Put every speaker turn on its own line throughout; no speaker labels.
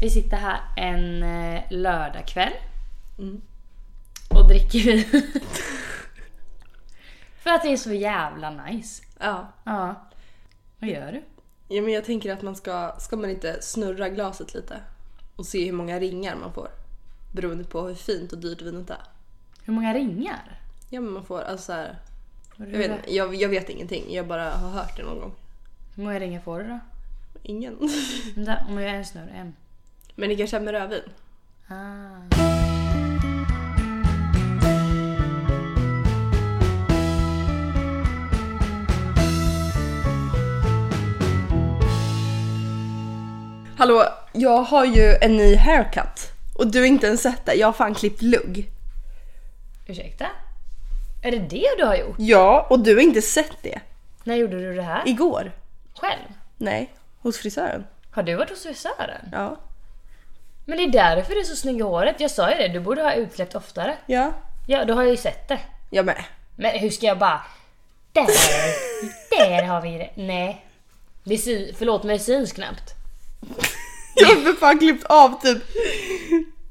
Vi sitter här en eh, lördagkväll
Mm.
och dricker vin. För att det är så jävla nice.
Ja.
Ja. Vad gör du?
ja, men jag tänker att man ska, ska man inte snurra glaset lite och se hur många ringar man får beroende på hur fint och dyrt vinet är.
Hur många ringar?
Ja, men man får alltså så här,
Har du-
jag, vet, jag, jag vet ingenting, jag bara har hört det någon gång.
Hur många ringar får du då?
Ingen.
Vänta, om jag är en snurr, en.
Men det kanske är med rödvin.
Ah.
Hallå, jag har ju en ny haircut och du har inte ens sett det. Jag har fan klippt lugg.
Ursäkta? Är det det du har gjort?
Ja, och du har inte sett det.
När gjorde du det här?
Igår?
Själv?
Nej, hos frisören.
Har du varit hos frisören?
Ja.
Men det är därför det är så snygga håret. Jag sa ju det, du borde ha utkläppt oftare.
Ja.
Ja, då har jag ju sett det.
Jag med.
Men hur ska jag bara... Där! där har vi det. Nej. Det sy, förlåt mig, det syns knappt.
Jag har för fan klippt av typ.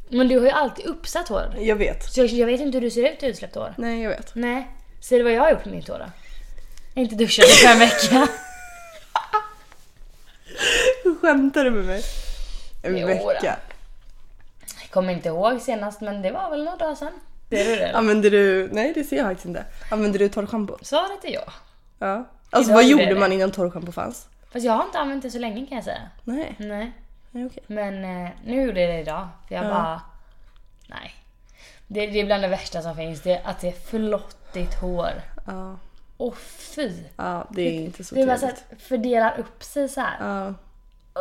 Men du har ju alltid uppsatt hår.
Jag vet.
Så jag, jag vet inte hur du ser ut i utsläppt hår.
Nej, jag vet.
Nej. Ser du vad jag har gjort med mitt hår då? Jag har inte duschat på en vecka.
Skämtar du med mig? En
Jo då.
vecka.
Jag kommer inte ihåg senast men det var väl några dagar sedan. Ser du det? eller?
Använder du... Nej, det ser jag faktiskt inte. Använder du torrschampo?
Svaret är ja.
Ja. Alltså
Idag
vad
gjorde jag
gjorde
det.
man innan torrschampo fanns?
Fast jag har inte använt det så länge kan jag säga.
Nej.
Nej.
Nej, okej.
Men eh, nu gjorde jag det idag. För jag
Ja.
bara... Nej. Det, det är bland det värsta som finns. Det, är att det är flottigt hår.
Ja.
Åh fy!
Ja, det är inte så
Det är bara så
trevligt.
att fördelar upp sig så här.
Ja.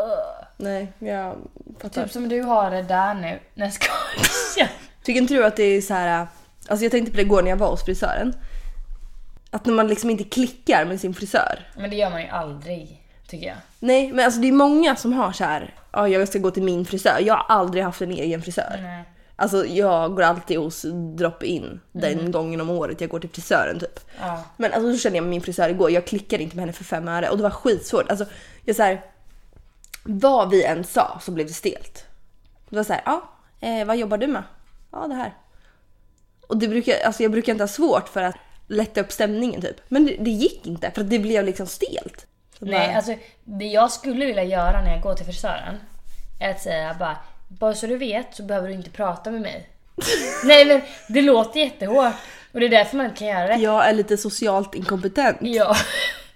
Ugh.
Nej, jag fattar.
Typ som du har det där nu. När jag skojar.
Tycker inte du att det är så här... Alltså jag tänkte på det igår när jag var hos frisören. Att när man liksom inte klickar med sin frisör.
Men det gör man ju aldrig. Tycker jag.
Nej, men alltså det är många som har så här... Ja, jag ska gå till min frisör. Jag har aldrig haft en egen frisör.
Nej.
Alltså jag går alltid hos drop-in den gången om året jag går till frisören typ.
Ja.
Men alltså så kände jag med min frisör igår, jag klickade inte med henne för fem öre och det var skitsvårt. Alltså jag så här, vad vi än sa så blev det stelt. Det var så här, ja, eh, vad jobbar du med? Ja, det här. Och det brukar, alltså jag brukar inte ha svårt för att lätta upp stämningen typ. Men det, det gick inte för att det blev liksom stelt. Så
Nej,
bara,
alltså det jag skulle vilja göra när jag går till frisören är att säga bara bara så du vet så behöver du inte prata med mig. Nej men det låter jättehårt och det är därför man inte kan göra det.
jag är lite socialt inkompetent.
Jag,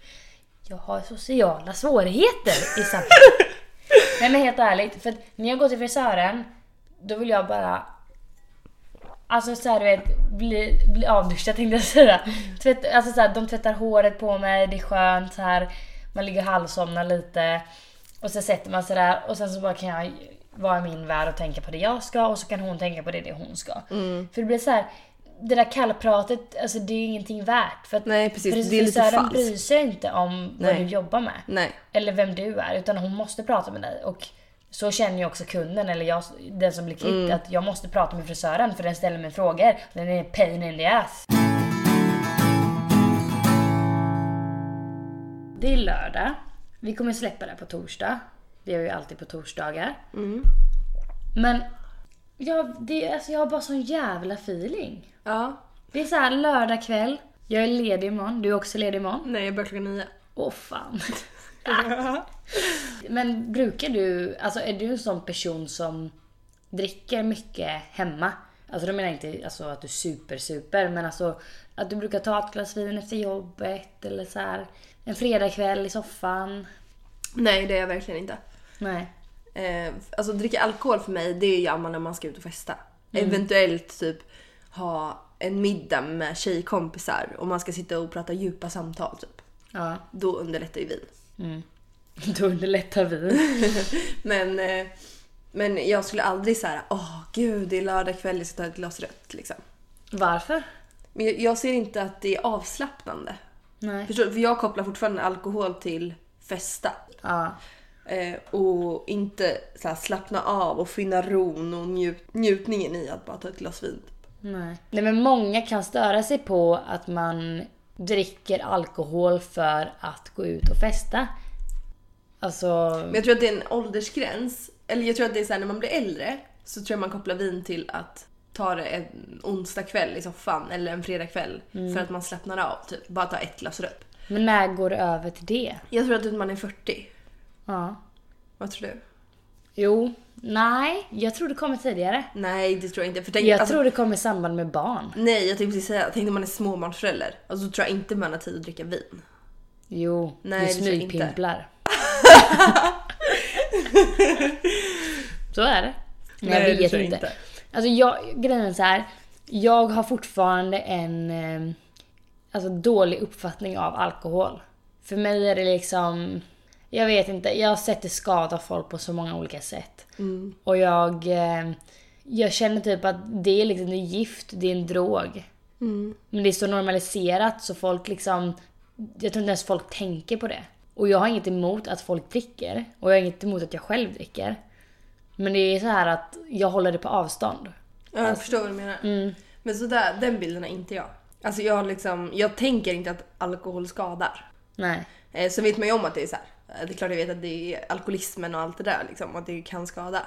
jag har sociala svårigheter i samhället. Nej men helt ärligt, för att när jag går till frisören då vill jag bara Alltså såhär du vet, bli, bli avduschad tänkte jag säga. Tvätt, alltså såhär, de tvättar håret på mig, det är skönt så här. Man ligger och halvsomnar lite. Och så sätter man sig där och sen så bara kan jag vara i min värld och tänka på det jag ska och så kan hon tänka på det, det hon ska.
Mm.
För det blir så här. Det där kallpratet, alltså det är ingenting värt. För att
Nej, precis.
fris-
Det är lite
frisören
falskt.
bryr sig inte om vad
Nej.
du jobbar med.
Nej.
Eller vem du är, utan hon måste prata med dig. Och så känner ju också kunden, eller jag, den som blir klippt, att jag måste prata med frisören för den ställer mig frågor. Den är pain in the ass. Det är lördag. Vi kommer släppa det här på torsdag. Vi gör ju alltid på torsdagar. Men jag, det, alltså jag har bara sån jävla feeling.
Ja.
Det är så här lördag kväll. Jag är ledig imorgon. Du är också ledig imorgon.
Nej, jag börjar klockan nio.
Åh fan. Men brukar du, alltså är du en sån person som dricker mycket hemma? Alltså då menar jag inte alltså, att du super super men alltså att du brukar ta ett glas vin efter jobbet eller så här en fredagkväll i soffan.
Nej, det är jag verkligen inte.
Nej.
Eh, alltså dricka alkohol för mig det gör man när man ska ut och festa. Eventuellt typ ha en middag med tjejkompisar och man ska sitta och prata djupa samtal typ.
Ja.
Då underlättar ju vin.
Då underlättar vi.
Men, eh, men jag skulle aldrig säga åh gud det är lördag kväll jag ska ta ett glas rött liksom.
Varför?
Men jag, jag ser inte att det är avslappnande.
Nej.
Förstår du? För jag kopplar fortfarande alkohol till festa.
Ja.
Eh, och inte så här, slappna av och finna ron och njut, njutningen i att bara ta ett glas vin.
Nej. Nej men många kan störa sig på att man dricker alkohol för att gå ut och festa. Alltså...
Men jag tror att det är en åldersgräns Eller jag tror att det är såhär när man blir äldre så tror jag man kopplar vin till att ta det en onsdag kväll i soffan eller en fredag kväll för att man slappnar av typ. Bara ta ett glas röp.
Men när går det över till det?
Jag tror att typ man är 40.
Ja.
Vad tror du?
Jo. Nej, jag tror det kommer tidigare.
Nej det tror jag inte. För tänk,
Jag
alltså,
tror det kommer i samband med barn.
Nej jag tänkte precis säga, tänk om man är småbarnsförälder. Alltså då tror jag inte man har tid att dricka vin.
Jo,
Nej,
du
det tror jag inte.
smygpimplar. så är det. Men
Nej,
jag
det
vet
tror jag
inte.
inte.
Alltså jag, grejen är så här. Jag har fortfarande en eh, alltså, dålig uppfattning av alkohol. För mig är det liksom... Jag vet inte. Jag har sett det skada folk på så många olika sätt.
Mm.
Och jag... Eh, jag känner typ att det är liksom det är gift, det är en drog.
Mm.
Men det är så normaliserat så folk liksom... Jag tror inte ens folk tänker på det. Och jag har inget emot att folk dricker. Och jag har inget emot att jag själv dricker. Men det är så här att jag håller det på avstånd.
Ja, jag förstår vad du menar. Men sådär, den bilden har inte jag. Alltså jag har liksom, jag tänker inte att alkohol skadar.
Nej.
Eh, så vet man ju om att det är så här. Eh, Det är klart jag vet att det är alkoholismen och allt det där liksom, och att det kan skada.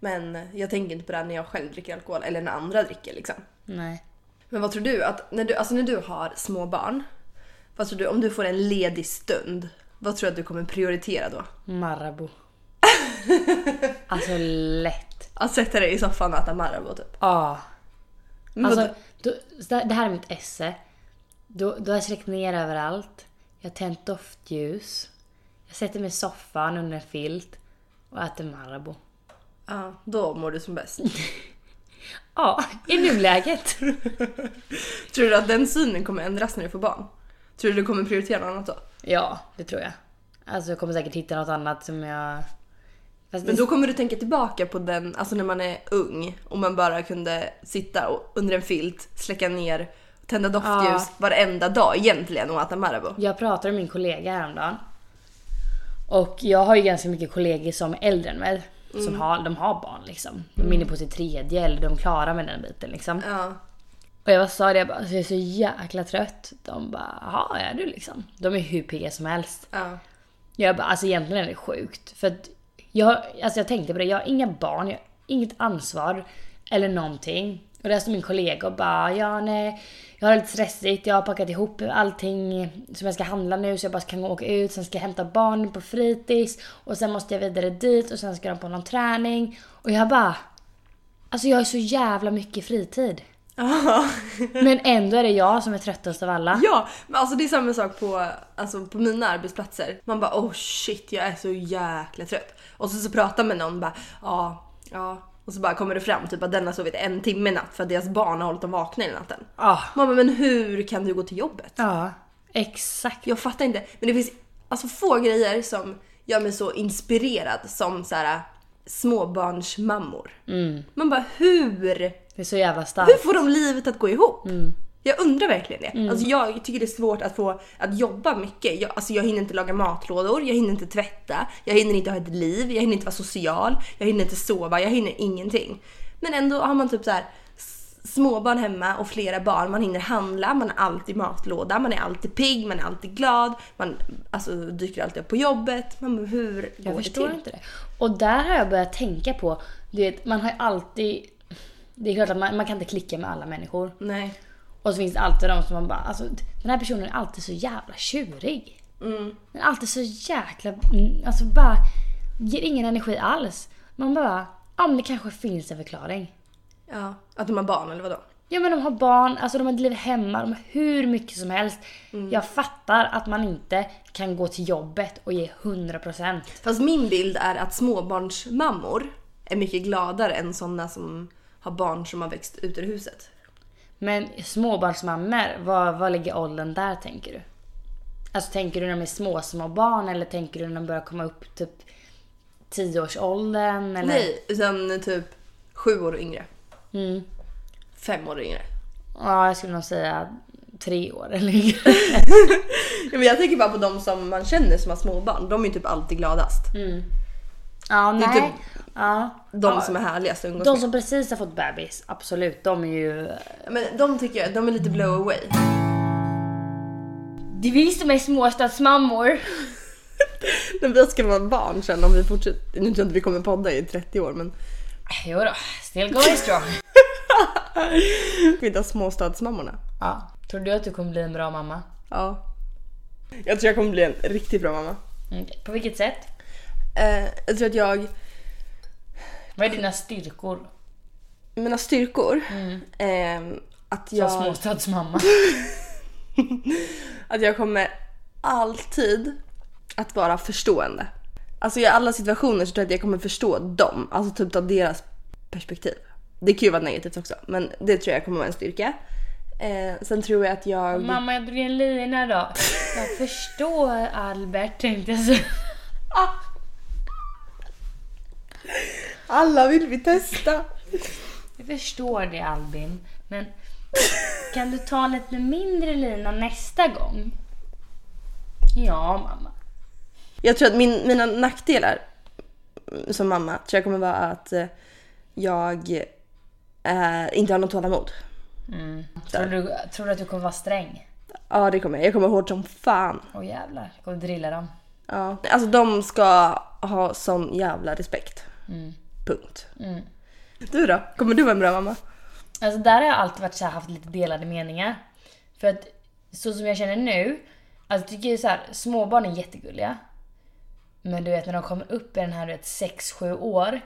Men jag tänker inte på det när jag själv dricker alkohol eller när andra dricker liksom.
Nej.
Men vad tror du att, när du, alltså när du har små barn, vad tror du, om du får en ledig stund, vad tror du att du kommer prioritera då?
Marabou. alltså lätt. Ah.
Att sätta dig i soffan och äta Marabou typ?
Ja.
Men
Alltså,
vadå?
då, så där- det här är mitt esse. Då, då har jag släckt ner överallt. Jag har tänt doftljus. Jag sätter mig i soffan under en filt och äter Marabou.
Ja, då mår du som bäst.
Ja, i nuläget.
Tror du att den synen kommer ändras när du får barn? Tror du du kommer prioritera något annat då?
ja, det tror jag. Alltså jag kommer säkert hitta något annat som jag... Fast
Men
det-
då kommer du tänka tillbaka på den, alltså när man är ung och man bara kunde sitta och, under en filt, släcka ner, tända doftljus
Ja.
varenda dag egentligen och äta Marabou.
Jag pratade med min kollega häromdagen. Och jag har ju ganska mycket kollegor som är äldre än mig.
Mm.
Som har, de har barn liksom. De är inne på sitt tredje eller de klarar med den biten liksom.
Ja.
Och jag bara sa det, jag bara, alltså, jag är så jäkla trött. De bara, jaha är du liksom? De är hur pigga som helst.
ja.
Jag bara, alltså egentligen är det sjukt. För att jag, alltså jag tänkte på det, jag har inga barn, jag har inget ansvar eller någonting. Och där står min kollega och bara, ja nej, jag har det lite stressigt, jag har packat ihop allting som jag ska handla nu så jag bara kan gå och åka ut, sen ska jag hämta barnen på fritids och sen måste jag vidare dit och sen ska de på någon träning. Och jag bara, alltså jag har så jävla mycket fritid.
Ja.
Men ändå är det jag som är tröttast av alla.
Ja, men alltså det är samma sak på, alltså på mina arbetsplatser. Man bara oh shit jag är så jäkla trött. Och så, så pratar med någon bara ja, ja. Och så bara kommer det fram typ att den har sovit en timme i natt för att deras barn har hållit dem vakna hela natten.
Ja.
Man bara men hur kan du gå till jobbet?
Ja, exakt.
Jag fattar inte. Men det finns alltså få grejer som gör mig så inspirerad som så här småbarnsmammor. Man bara hur?
Det är så jävla
Hur
starkt.
får de livet att gå ihop?
Mm.
Jag undrar verkligen det. Alltså jag tycker det är svårt att få att jobba mycket. Jag, alltså jag hinner inte laga matlådor, jag hinner inte tvätta, jag hinner inte ha ett liv, jag hinner inte vara social, jag hinner inte sova, jag hinner ingenting. Men ändå har man typ så här s- småbarn hemma och flera barn, man hinner handla, man har alltid matlåda, man är alltid pigg, man är alltid glad, man alltså, dyker alltid upp på jobbet. Man bara, hur går
Jag
det
förstår
till?
inte det. Och där har jag börjat tänka på, du vet, man har ju alltid... Det är klart att man, man kan inte klicka med alla människor.
Nej.
Och så finns det alltid de som man bara, alltså den här personen är alltid så jävla tjurig.
Mm.
Den är alltid så jäkla, mm, alltså bara, ger ingen energi alls. Man bara, ja men det kanske finns en förklaring.
Ja. Att de har barn eller vadå?
Ja men de har barn, alltså de har ett liv hemma, de har hur mycket som helst.
Mm.
Jag fattar att man inte kan gå till jobbet och ge 100%.
Fast min bild är att småbarnsmammor är mycket gladare än sådana som har barn som har växt ut ur huset.
Men småbarnsmammor, vad, vad ligger åldern där tänker du? Alltså tänker du när de är små, små barn eller tänker du när de börjar komma upp typ 10-årsåldern? Eller?
Nej, utan typ sju år och yngre. Fem år och yngre.
Mm. Ja, jag skulle nog säga tre år eller
Ja, men jag tänker bara på de som man känner som har småbarn. De är ju typ alltid gladast.
Ja,
Det är
nej.
typ
Ja.
De som är härligast att umgås
De
med.
som precis har fått bebis, absolut. De är ju...
Ja, Men de tycker jag, de är lite blow away.
Det finns de här småstadsmammor.
När vi ska vara barn sen om vi fortsätter. Nu tror jag inte vi kommer podda i 30 år men
Jo då, still going strong.
vi är småstadsmammorna.
Ja. Tror du att du kommer bli en bra mamma?
Ja. Jag tror jag kommer bli en riktigt bra mamma.
Mm. På vilket sätt?
Eh, jag tror att jag,
Vad är dina styrkor
mina styrkor, ehm, att
Mm. som
jag...
småstadsmamma?
att jag kommer alltid att vara förstående. Alltså i alla situationer så tror jag att jag kommer förstå dem, alltså typ ta deras perspektiv. Det kan ju vara negativt också, men det tror jag kommer vara en styrka. Eh, sen tror jag att jag...
Mamma, jag drog en lina idag. Jag förstår Albert, tänkte jag säga.
Alla vill vi testa!
Jag förstår det Albin, men kan du ta lite mindre lina nästa gång? Ja, mamma.
Jag tror att min, mina nackdelar mm, som mamma tror jag kommer vara att eh, jag eh, inte har något tålamod.
Tror du, tror du att du kommer vara sträng?
Ja, det kommer jag. Jag kommer vara hård som fan.
Åh jävlar, jag kommer drilla dem.
Ja. Alltså de ska ha sån jävla respekt.
Mm.
Punkt. Du då? Kommer du vara en bra mamma?
Alltså där har jag alltid varit så här, haft lite delade meningar. För att så som jag känner nu, alltså tycker jag så här, småbarn är jättegulliga. Men du vet när de kommer upp i den här du vet 6-7 år.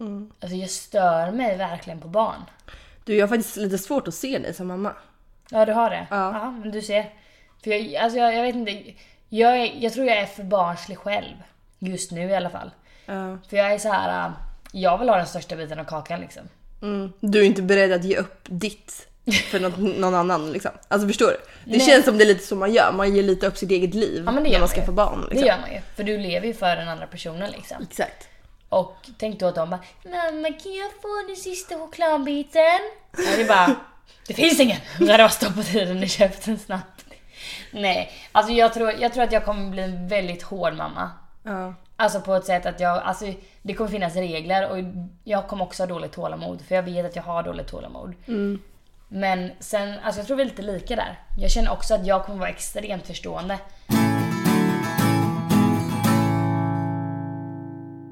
Mm.
Alltså jag stör mig verkligen på barn.
Du, jag har faktiskt lite svårt att se dig som mamma.
Ja, du har det?
Ja.
men du ser. För jag, alltså jag, jag vet inte. Jag, är, jag tror jag är för barnslig själv. Just nu i alla fall.
Ja.
För jag är så här. äh, Jag vill ha den största biten av kakan liksom.
Mm. Du är inte beredd att ge upp ditt för något, någon annan liksom. Alltså förstår du? Det
Nej.
känns som det är lite så man gör. Man ger lite upp sitt eget liv
men det
när
gör
man
man
skaffar
ju.
barn. Liksom.
Det gör man ju. För du lever ju för den andra personen liksom.
Exakt.
Och tänk då att de bara Mamma kan jag få den sista chokladbiten? Ja, det är bara Det finns ingen! Då hade jag stoppat i den i käften snabbt. Nej, alltså jag tror, jag tror att jag kommer bli en väldigt hård mamma.
Ja.
Alltså på ett sätt att jag, alltså det kommer finnas regler och jag kommer också ha dåligt tålamod för jag vet att jag har dåligt tålamod. Men sen, alltså jag tror vi är lite lika där. Jag känner också att jag kommer vara extremt förstående.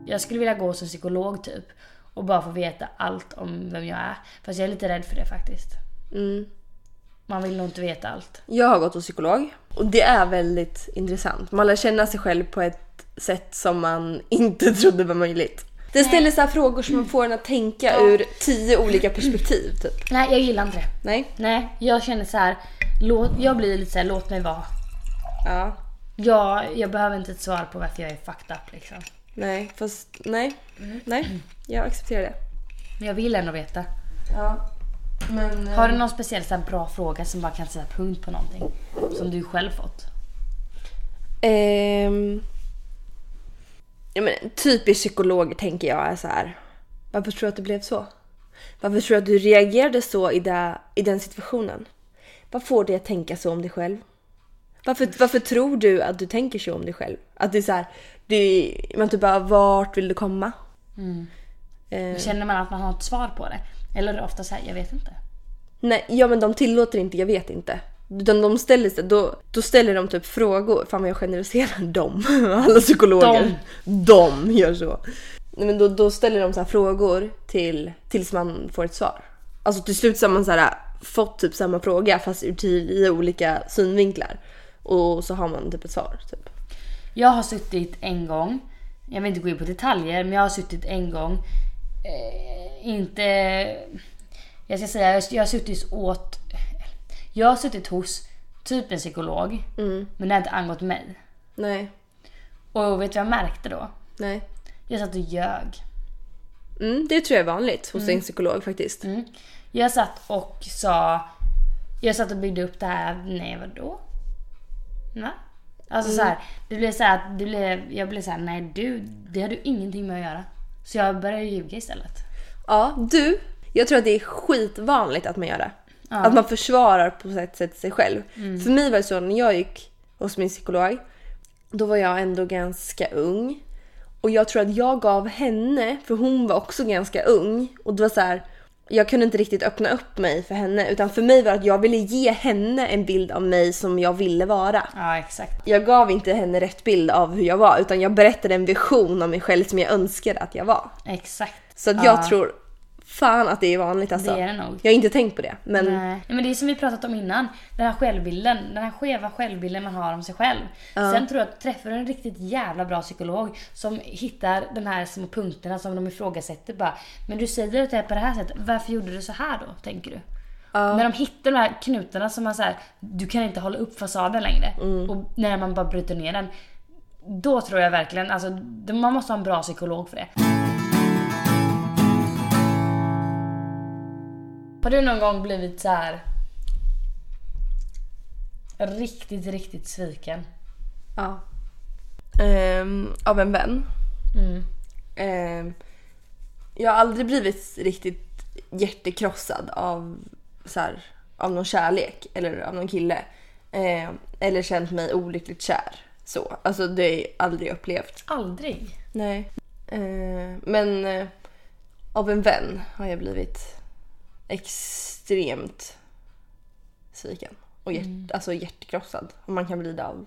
Jag skulle vilja gå som psykolog typ och bara få veta allt om vem jag är. Fast jag är lite rädd för det faktiskt.
Mm.
Man vill nog inte veta allt.
Jag har gått hos psykolog och det är väldigt intressant. Man lär känna sig själv på ett sätt som man inte trodde var möjligt. Det ställer så här frågor som man får en att tänka ur tio olika perspektiv. Typ.
Nej, jag gillar inte det.
Nej?
Nej, jag känner så här. Låt, jag blir lite så här, låt mig vara.
Ja.
Ja, jag behöver inte ett svar på varför jag är fucked up liksom.
Nej. Fast nej. Nej. Jag accepterar det.
Men jag vill ändå veta.
Ja. Men... eh,
Har du någon speciell så här, bra fråga som bara kan sätta punkt på någonting? Som du själv fått?
Ehm, ja, men, typiskt psykologer tänker jag är så här. Varför tror du att det blev så? Varför tror du att du reagerade så i, det, i den situationen? Vad får dig att tänka så om dig själv? Varför, varför tror du att du tänker så om dig själv? Att det är så här, det, man typ bara, vart vill du komma? Ehm,
Känner man att man har ett svar på det? Eller är det ofta så här, jag vet inte.
Nej, ja men de tillåter inte, jag vet inte. Utan de ställer sig, då, då ställer de typ frågor. Fan vad jag generaliserar dem. Alla psykologer. De. gör så. Nej, men då, då ställer de så här frågor till, tills man får ett svar. Alltså till slut så har man så här, fått typ samma fråga fast ur tio olika synvinklar. Och så har man typ ett svar. Typ.
Jag har suttit en gång, jag vill inte gå in på detaljer, men jag har suttit en gång. Eh, inte... Jag ska säga, jag har suttit åt... Jag har suttit hos typ en psykolog, men det har inte angått mig.
Nej,
Och vet du vad jag märkte då?
nej.
Jag satt och ljög.
Mm, det tror jag är vanligt hos en psykolog faktiskt.
Mm. Jag satt och sa... Jag satt och byggde upp det här, nej vadå? Va? Alltså så här, det blev så här att det blev, jag blev så här, nej du, det har du ingenting med att göra. Så jag började ljuga istället.
Ja, du. Jag tror att det är skitvanligt att man gör det. Att man försvarar på ett sätt sig själv. För mig var det så när jag gick hos min psykolog. Då var jag ändå ganska ung. Och jag tror att jag gav henne, för hon var också ganska ung. Och det var så här, jag kunde inte riktigt öppna upp mig för henne utan för mig var det att jag ville ge henne en bild av mig som jag ville vara.
Ja, exakt.
Jag gav inte henne rätt bild av hur jag var utan jag berättade en vision av mig själv som jag önskade att jag var.
Exakt.
Så att jag
Ja.
tror fan att det är vanligt alltså.
Det är det nog.
Jag har inte tänkt på det men
Nej. Nej, men det är som vi pratat om innan. Den här självbilden. Den här skeva självbilden man har om sig själv. Sen tror jag att träffar du en riktigt jävla bra psykolog som hittar de här små punkterna som de ifrågasätter bara. Men du säger att det är på det här sättet. Varför gjorde du så här då? Tänker du. När de hittar de här knutarna som man säger du kan inte hålla upp fasaden längre. Och när man bara bryter ner den. Då tror jag verkligen, alltså det- man måste ha en bra psykolog för det. Har du någon gång blivit så här riktigt, riktigt sviken?
ja. Ehm, av en vän.
Mm.
Ehm, jag har aldrig blivit riktigt hjärtekrossad av, så här, av någon kärlek eller av någon kille. Ehm, eller känt mig olyckligt kär. Så. Alltså det har jag aldrig upplevt.
Aldrig.
Nej. Ehm, men eh, av en vän har jag blivit extremt sviken. Och hjärt, alltså hjärtekrossad. Om man kan bli det av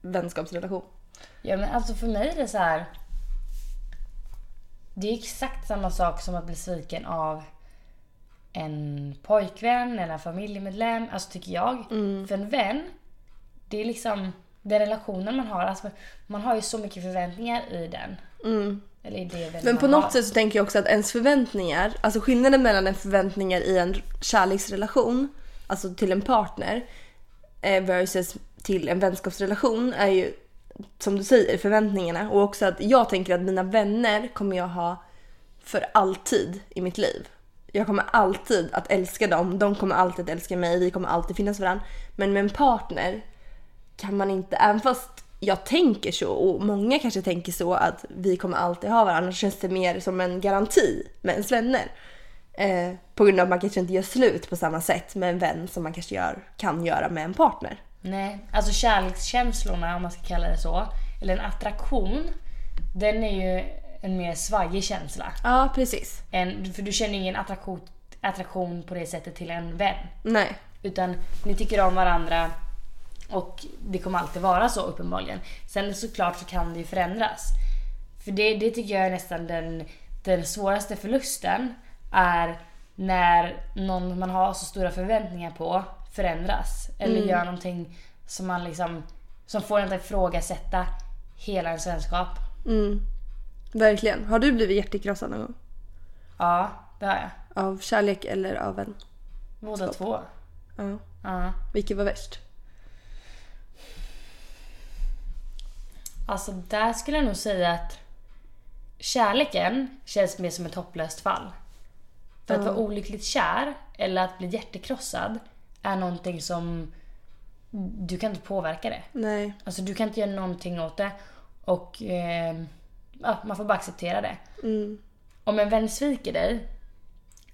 vänskapsrelation.
Ja men alltså för mig är det så här. Det är exakt samma sak som att bli sviken av en pojkvän eller en familjemedlem, alltså tycker jag.
Mm.
För en vän, det är liksom den relationen man har. Alltså man har ju så mycket förväntningar i den. Eller i det
Mm. Men
man
på
har.
något sätt så tänker jag också att ens förväntningar, alltså skillnaden mellan en förväntningar i en kärleksrelation, alltså till en partner, eh, versus till en vänskapsrelation är ju som du säger förväntningarna och också att jag tänker att mina vänner kommer jag ha för alltid i mitt liv. Jag kommer alltid att älska dem, de kommer alltid att älska mig, vi kommer alltid finnas för varandra. Men med en partner kan man inte, även fast jag tänker så och många kanske tänker så att vi kommer alltid ha varandra, så känns det mer som en garanti med ens vänner. Eh, på grund av att man kanske inte gör slut på samma sätt med en vän som man kanske gör, kan göra med en partner.
Nej, alltså kärlekskänslorna om man ska kalla det så, eller en attraktion, den är ju en mer svajig känsla.
Ja, precis.
En, för du känner ingen attraktion, attraktion på det sättet till en vän.
Nej.
Utan ni tycker om varandra och det kommer alltid vara så uppenbarligen. Sen såklart så kan det ju förändras. För det, det tycker jag är nästan den, den svåraste förlusten. Är när någon man har så stora förväntningar på förändras. Eller gör någonting som man liksom som får en att ifrågasätta hela ens vänskap.
Mm. Verkligen. Har du blivit hjärtekrossad någon gång?
Ja, det har jag.
Av kärlek eller av en?
Båda två.
Ja.
Ja.
Vilket var värst?
Alltså där skulle jag nog säga att kärleken känns mer som ett hopplöst fall. För att vara olyckligt kär eller att bli hjärtekrossad är någonting som du kan inte påverka det.
Nej.
Alltså du kan inte göra någonting åt det och eh, ja, man får bara acceptera det. Om en vän sviker dig,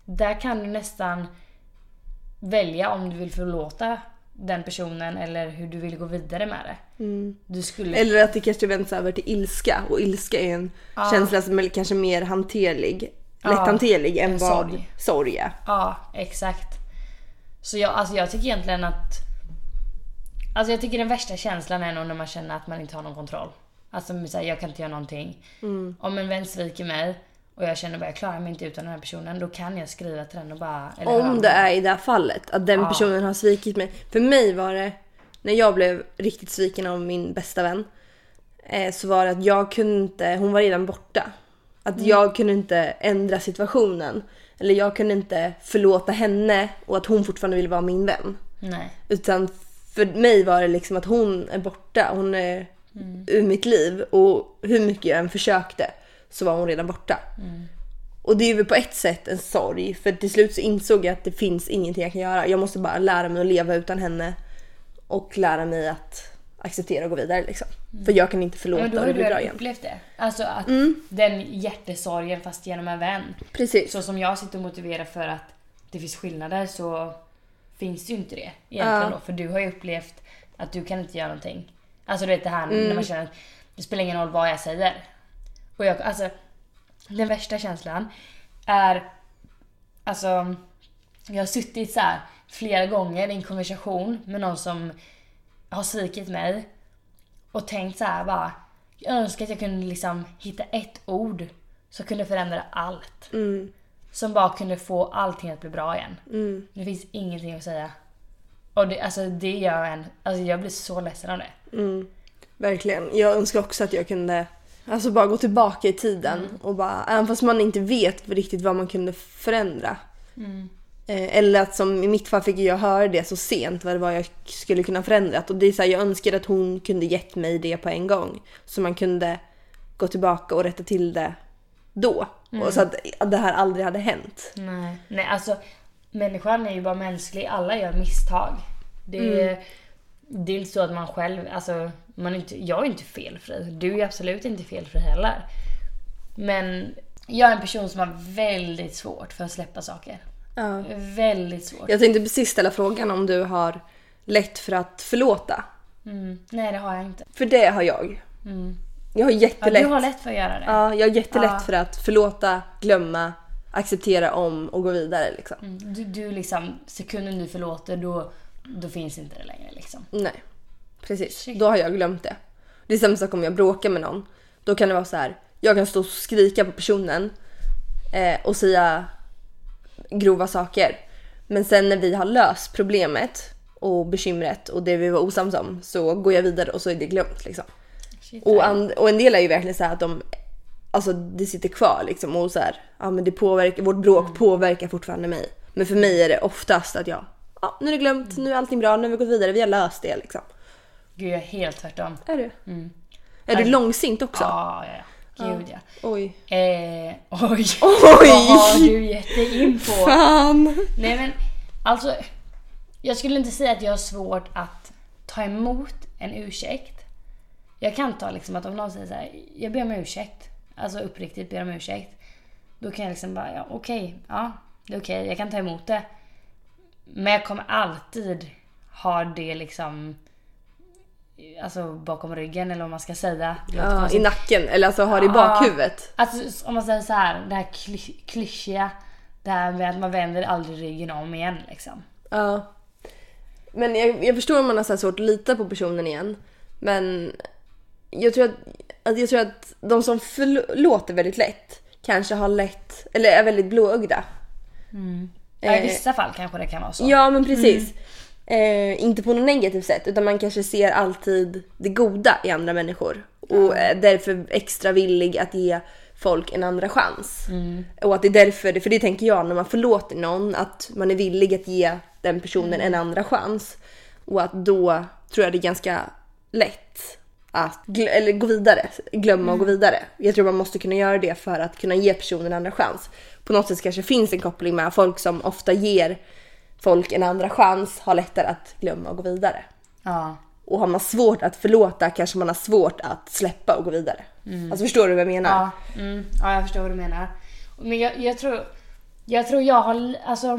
där kan du nästan välja om du vill förlåta den personen eller hur du vill gå vidare med det. Du skulle
Eller att det kanske vänds över till ilska och ilska är en känsla som är kanske mer hanterlig, lätthanterlig än
en
vad
sorg.
sorg är.
Ja, exakt. Så jag, alltså jag tycker egentligen att... Alltså jag tycker den värsta känslan är nog när man känner att man inte har någon kontroll. Alltså med så här, jag kan inte göra någonting.
Mm.
Om en vän sviker mig och jag känner att jag klarar mig inte utan den här personen, då kan jag skriva till den och bara... Eller
Om det är i det här fallet, att den personen har svikit mig. För mig var det, när jag blev riktigt sviken av min bästa vän, eh, så var det att jag kunde inte, hon var redan borta. Att jag kunde inte ändra situationen. Eller jag kunde inte förlåta henne och att hon fortfarande ville vara min vän.
Nej.
Utan för mig var det liksom att hon är borta, hon är
Mm.
ur mitt liv och hur mycket jag än försökte så var hon redan borta.
Mm.
Och det är väl på ett sätt en sorg för till slut så insåg jag att det finns ingenting jag kan göra. Jag måste bara lära mig att leva utan henne och lära mig att acceptera och gå vidare liksom. För jag kan inte förlåta
Mm. Men då har
och det
du
blir bra
redan
igen. Mm.
upplevt det. Alltså att den hjärtesorgen fast genom en vän.
Precis.
Så som jag sitter och motiverar för att det finns skillnader så finns det ju inte det egentligen då. För du har ju upplevt att du kan inte göra någonting. Alltså du vet det här när man känner att det spelar ingen roll vad jag säger. Och jag, alltså den värsta känslan är Alltså, jag har suttit så här flera gånger i en konversation med någon som har svikit mig och tänkt så här bara. Jag önskar att jag kunde liksom hitta ett ord som kunde förändra allt.
Mm.
Som bara kunde få allting att bli bra igen. Det finns ingenting att säga. Och det, alltså det gör en, alltså jag blir så ledsen av det.
Mm. Verkligen. Jag önskar också att jag kunde alltså bara gå tillbaka i tiden och bara, även fast man inte vet riktigt vad man kunde förändra. Eh, Eller att som i mitt fall fick jag höra det så sent vad det var jag skulle kunna förändra. Och det är så här, jag önskar att hon kunde gett mig det på en gång. Så man kunde gå tillbaka och rätta till det då. Och så att att det här aldrig hade hänt.
Nej. Nej, alltså människan är ju bara mänsklig. Alla gör misstag. Det är, det är inte så att man själv, alltså man är inte, jag är inte felfri. Du är absolut inte felfri heller. Men jag är en person som har väldigt svårt för att släppa saker.
Ja.
Väldigt svårt.
Jag tänkte precis ställa frågan om du har lätt för att förlåta.
Mm. Nej, det har jag inte.
För det har jag. Jag har
Mm. Ja,
jättelätt.
du har lätt för att göra det.
Ja, jag är jättelätt
Ja.
för att förlåta, glömma, acceptera om och gå vidare liksom.
Mm. Du, du liksom, sekunden du förlåter då, då finns inte det längre liksom.
Nej, precis.
Shit.
Då har jag glömt det. Det är samma sak om jag bråkar med någon. Då kan det vara så här. jag kan stå och skrika på personen eh, och säga grova saker. Men sen när vi har löst problemet och bekymret och det vi var osams om så går jag vidare och så är det glömt liksom.
Shit,
Och, and, och en del är ju verkligen så här att de Alltså det sitter kvar liksom och så här, ja men det påverkar, vårt bråk påverkar fortfarande mig. Men för mig är det oftast att jag, ja nu är det glömt, nu är allting bra, nu har vi gått vidare, vi har löst det liksom.
Gud, jag är helt tvärtom.
Är du? Är du långsint också?
Ja, ja, ja. Gud ja.
Oj.
Eh, oj.
Oj!
Vad har du gett dig in på?
Fan!
Nej men, alltså. Jag skulle inte säga att jag har svårt att ta emot en ursäkt. Jag kan ta liksom att om någon säger så här, jag ber om ursäkt. Alltså uppriktigt ber om ursäkt. Då kan jag liksom bara, ja okej, ja det är okej, jag kan ta emot det. Men jag kommer alltid ha det liksom, alltså bakom ryggen eller vad man ska säga. Det låter
Ja,
konstigt.
I nacken, eller alltså har det i bakhuvudet.
Alltså om man säger så här, det här kly- klyschiga. Det här med att man vänder aldrig ryggen om igen liksom.
Ja. Men jag, jag förstår om man har så här svårt att lita på personen igen. Men jag tror att, att, jag tror att de som förlåter väldigt lätt kanske har lätt, eller är väldigt blåögda.
Ja, I
Eh.
vissa fall kanske det kan vara så.
Ja men precis. Mm. Eh, inte på något negativt sätt utan man kanske ser alltid det goda i andra människor. Och är därför extra villig att ge folk en andra chans. Och att det är därför, för det tänker jag när man förlåter någon, att man är villig att ge den personen en andra chans. Och att då tror jag det är ganska lätt att gl- eller gå vidare, glömma och gå vidare. Jag tror man måste kunna göra det för att kunna ge personen en andra chans. På något sätt kanske finns en koppling med folk som ofta ger folk en andra chans har lättare att glömma och gå vidare.
Ja.
Och har man svårt att förlåta kanske man har svårt att släppa och gå vidare. Alltså förstår du vad jag menar?
Ja, mm, ja, jag förstår vad du menar. Men jag, jag tror jag tror jag har, li- alltså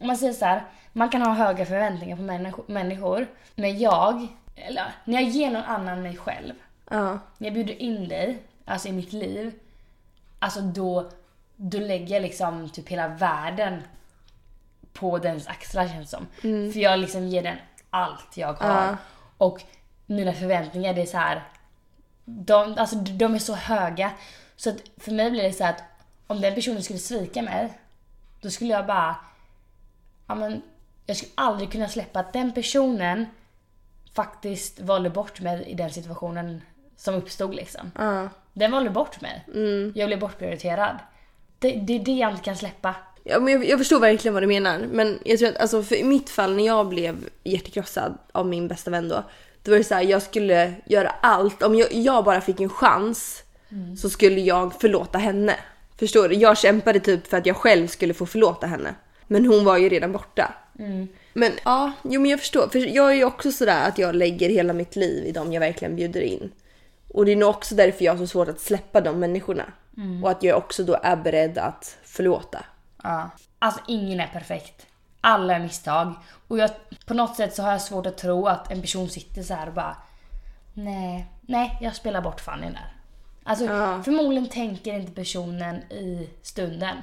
om man säger så här, man kan ha höga förväntningar på människo- människor. Men jag, eller när jag ger någon annan mig själv,
Ja.
när jag bjuder in dig, alltså i mitt liv, alltså då, då lägger jag liksom typ hela världen på dens axlar känns det som. För jag liksom ger den allt jag har.
Ja.
Och mina förväntningar det är så här. De, alltså, de är så höga. Så att för mig blir det så här att om den personen skulle svika mig, då skulle jag bara... Ja, men, jag skulle aldrig kunna släppa att den personen faktiskt valde bort mig i den situationen som uppstod liksom.
Ja. Mm.
Den valde bort mig. Jag blev bortprioriterad. Det, det är det jag inte kan släppa.
Ja, men jag, jag förstår verkligen vad du menar. Men jag tror att alltså, för i mitt fall när jag blev hjärtekrossad av min bästa vän då. Då var det så här, jag skulle göra allt. Om jag, jag bara fick en chans så skulle jag förlåta henne. Förstår du? Jag kämpade typ för att jag själv skulle få förlåta henne. Men hon var ju redan borta. Men ja, jo, men jag förstår. För jag är ju också sådär att jag lägger hela mitt liv i dem jag verkligen bjuder in. Och det är nog också därför jag har så svårt att släppa de människorna. Och att jag också då är beredd att förlåta.
Ja. Alltså ingen är perfekt. Alla är misstag. Och jag, på något sätt så har jag svårt att tro att en person sitter så här och bara Nej, nej jag spelar bort Fanny där. Alltså
Ja.
förmodligen tänker inte personen i stunden.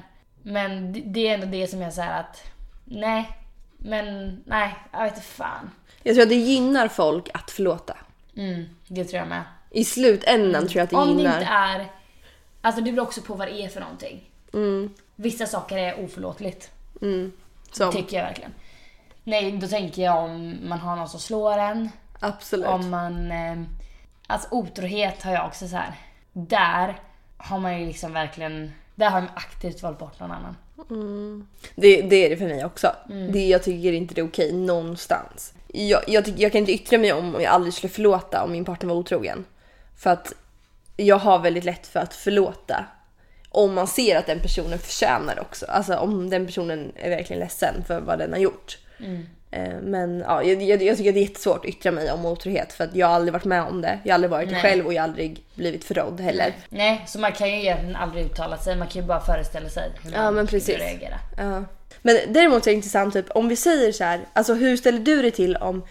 Men det- det är ändå det som jag säger att nej, men nej, jag vet inte fan.
Jag tror att det gynnar folk att förlåta.
Mm, det tror jag med.
I slutändan tror jag att det
Mm. Om det
gynnar.
inte är... Alltså det beror också på vad det är för någonting.
Mm,
Vissa saker är oförlåtligt.
mm. Som,
Tycker jag verkligen. Nej, då tänker jag om man har någon som slår en.
absolut.
Om man... Eh, alltså otrohet har jag också så här. Där har man ju liksom verkligen... Där har man aktivt valt bort någon annan.
Det, det är det för mig också. Det, jag tycker inte det är okej någonstans. Jag, jag, tycker- jag kan inte yttra mig om om jag aldrig skulle förlåta om min partner var otrogen. För att jag har väldigt lätt för att förlåta. Om man ser att den personen förtjänar det också. Alltså om den personen är verkligen ledsen för vad den har gjort. Eh, Men ja, jag, jag, jag tycker det är jättesvårt att yttra mig om otrohet för att jag har aldrig varit med om det. Jag har aldrig varit det
Nej.
själv och jag har aldrig blivit förrådd heller.
Nej, så man kan ju egentligen aldrig uttala sig. Man kan ju bara föreställa sig hur man
Ja, men
skulle
precis.
reagera.
Ja. Men däremot är det intressant, typ, om vi säger så här, alltså hur ställer du dig till om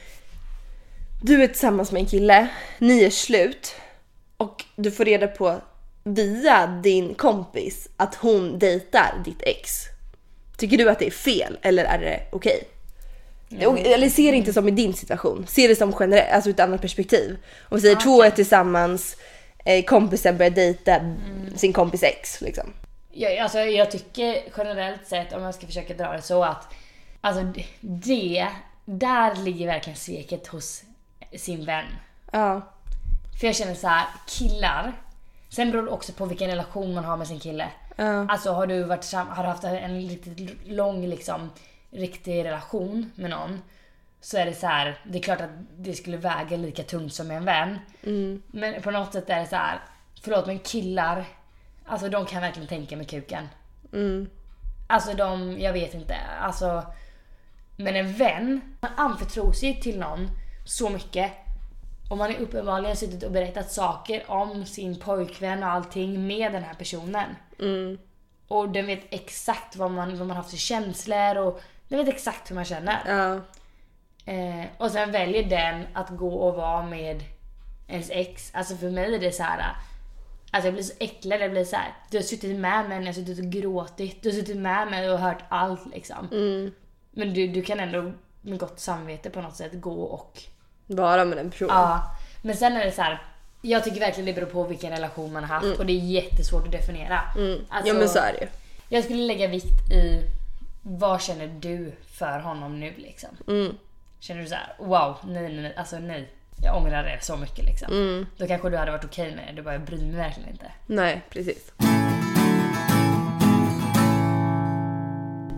du är tillsammans med en kille, ni är slut och du får reda på via din kompis att hon dejtar ditt ex. Tycker du att det är fel eller är det okej? Och- Eller se det inte som i din situation, se det som generellt, alltså ur ett annat perspektiv. Om vi säger två är tillsammans, eh, kompisen börjar dejta sin kompis ex liksom.
Jag, alltså, jag tycker generellt sett, om jag ska försöka dra det så att alltså, det, där ligger verkligen sveket hos sin vän.
Ja,
För jag känner så här, killar, sen beror det också på vilken relation man har med sin kille.
Ja.
Alltså har du, varit, sam- har du haft en riktigt lång liksom, riktig relation med någon så är det så här, det är klart att det skulle väga lika tungt som med en vän.
Mm,
Men på något sätt är det så här, förlåt men killar, alltså de kan verkligen tänka med kuken.
mm,
Alltså de, jag vet inte. Alltså, men en vän, man anförtror sig till någon så mycket. Och man har uppenbarligen suttit och berättat saker om sin pojkvän och allting med den här personen.
mm.
Och den vet exakt vad man, vad man har för känslor och den vet exakt hur man känner.
Ja.
Eh, och sen väljer den att gå och vara med ens ex. Alltså för mig är det så här. Alltså jag blir så äcklad. Jag blir så här. Du har suttit med mig när jag har suttit och gråtit. Du har suttit med mig och hört allt liksom.
Mm.
Men du, du kan ändå med gott samvete på något sätt gå och...
Bara med den personen.
Ja. Men sen är det så här. Jag tycker verkligen det beror på vilken relation man har haft och det är jättesvårt att definiera. Alltså,
ja Mm. men så är det ju.
Jag skulle lägga vikt i vad känner du för honom nu liksom.
Mm.
Känner du så här, wow, nej, nej, nej, alltså nej. Jag ångrar det så mycket liksom. Då kanske du hade varit okej med det. Du bara, jag bryr mig verkligen inte.
Nej precis.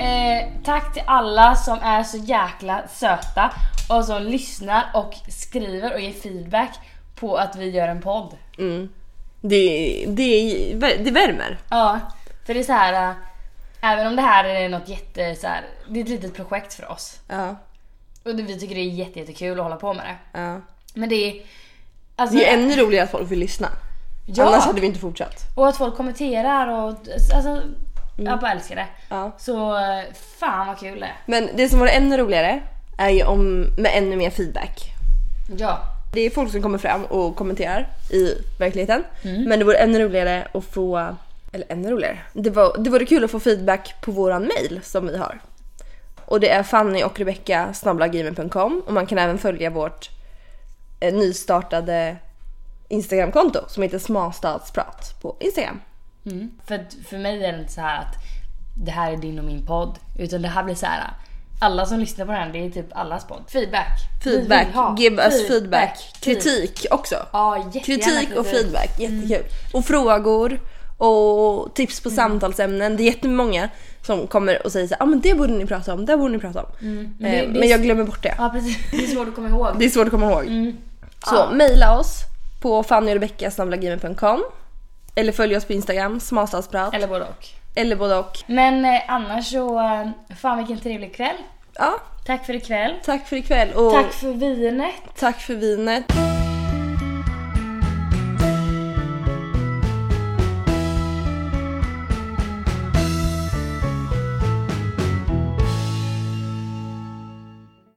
Eh, tack till alla som är så jäkla söta och som lyssnar och skriver och ger feedback på att vi gör en podd.
Mm. Det, det, det värmer.
Ja, för det är så här, eh, även om det här är något jätte så här, det är ett litet projekt för oss.
Ja.
Och det- vi tycker det är jätte, jättekul att hålla på med det.
ja.
Men det är... Alltså,
Det är ännu roligare att folk vill lyssna.
ja,
Annars hade vi inte fortsatt.
och att folk kommenterar och... Alltså, Jag bara älskar det.
Ja.
Så eh, fan vad kul det är.
Men det som vore ännu roligare är ju om, med ännu mer feedback.
Ja.
Det är folk som kommer fram och kommenterar i verkligheten.
Mm.
Men det vore ännu roligare att få... Eller ännu roligare. Det, var, det vore kul att få feedback på våran mail som vi har. Och det är Fanny och Rebecca snabblagmail.com och man kan även följa vårt eh, nystartade Instagramkonto som heter småstadsprat på Instagram.
Mm. För, att för mig är det inte så här att det här är din och min podd. Utan det här blir så här. Alla som lyssnar på den här, det är typ allas podd. Feedback. Vi
Feedback,
vill ha
give us feedback.
Feed-
Kritik också.
Ja, jättegärna
Kritik och feedback, jättekul. Och frågor och tips på samtalsämnen. Det är jättemånga som kommer och säger så här, ah, men det borde ni prata om, det borde ni prata om.
Men det-
eh,
det-
men jag glömmer bort det.
Ja precis, det är svårt att komma ihåg.
Det är svårt att komma ihåg. Så mejla oss på fannyrebecka.com eller följ oss på Instagram, smalstadsprat eller,
Eller både och.
både och.
Men eh, annars så, eh, fan vilken trevlig kväll.
Ja,
Tack för ikväll.
tack för ikväll och
Tack för vinet.
tack för vinet.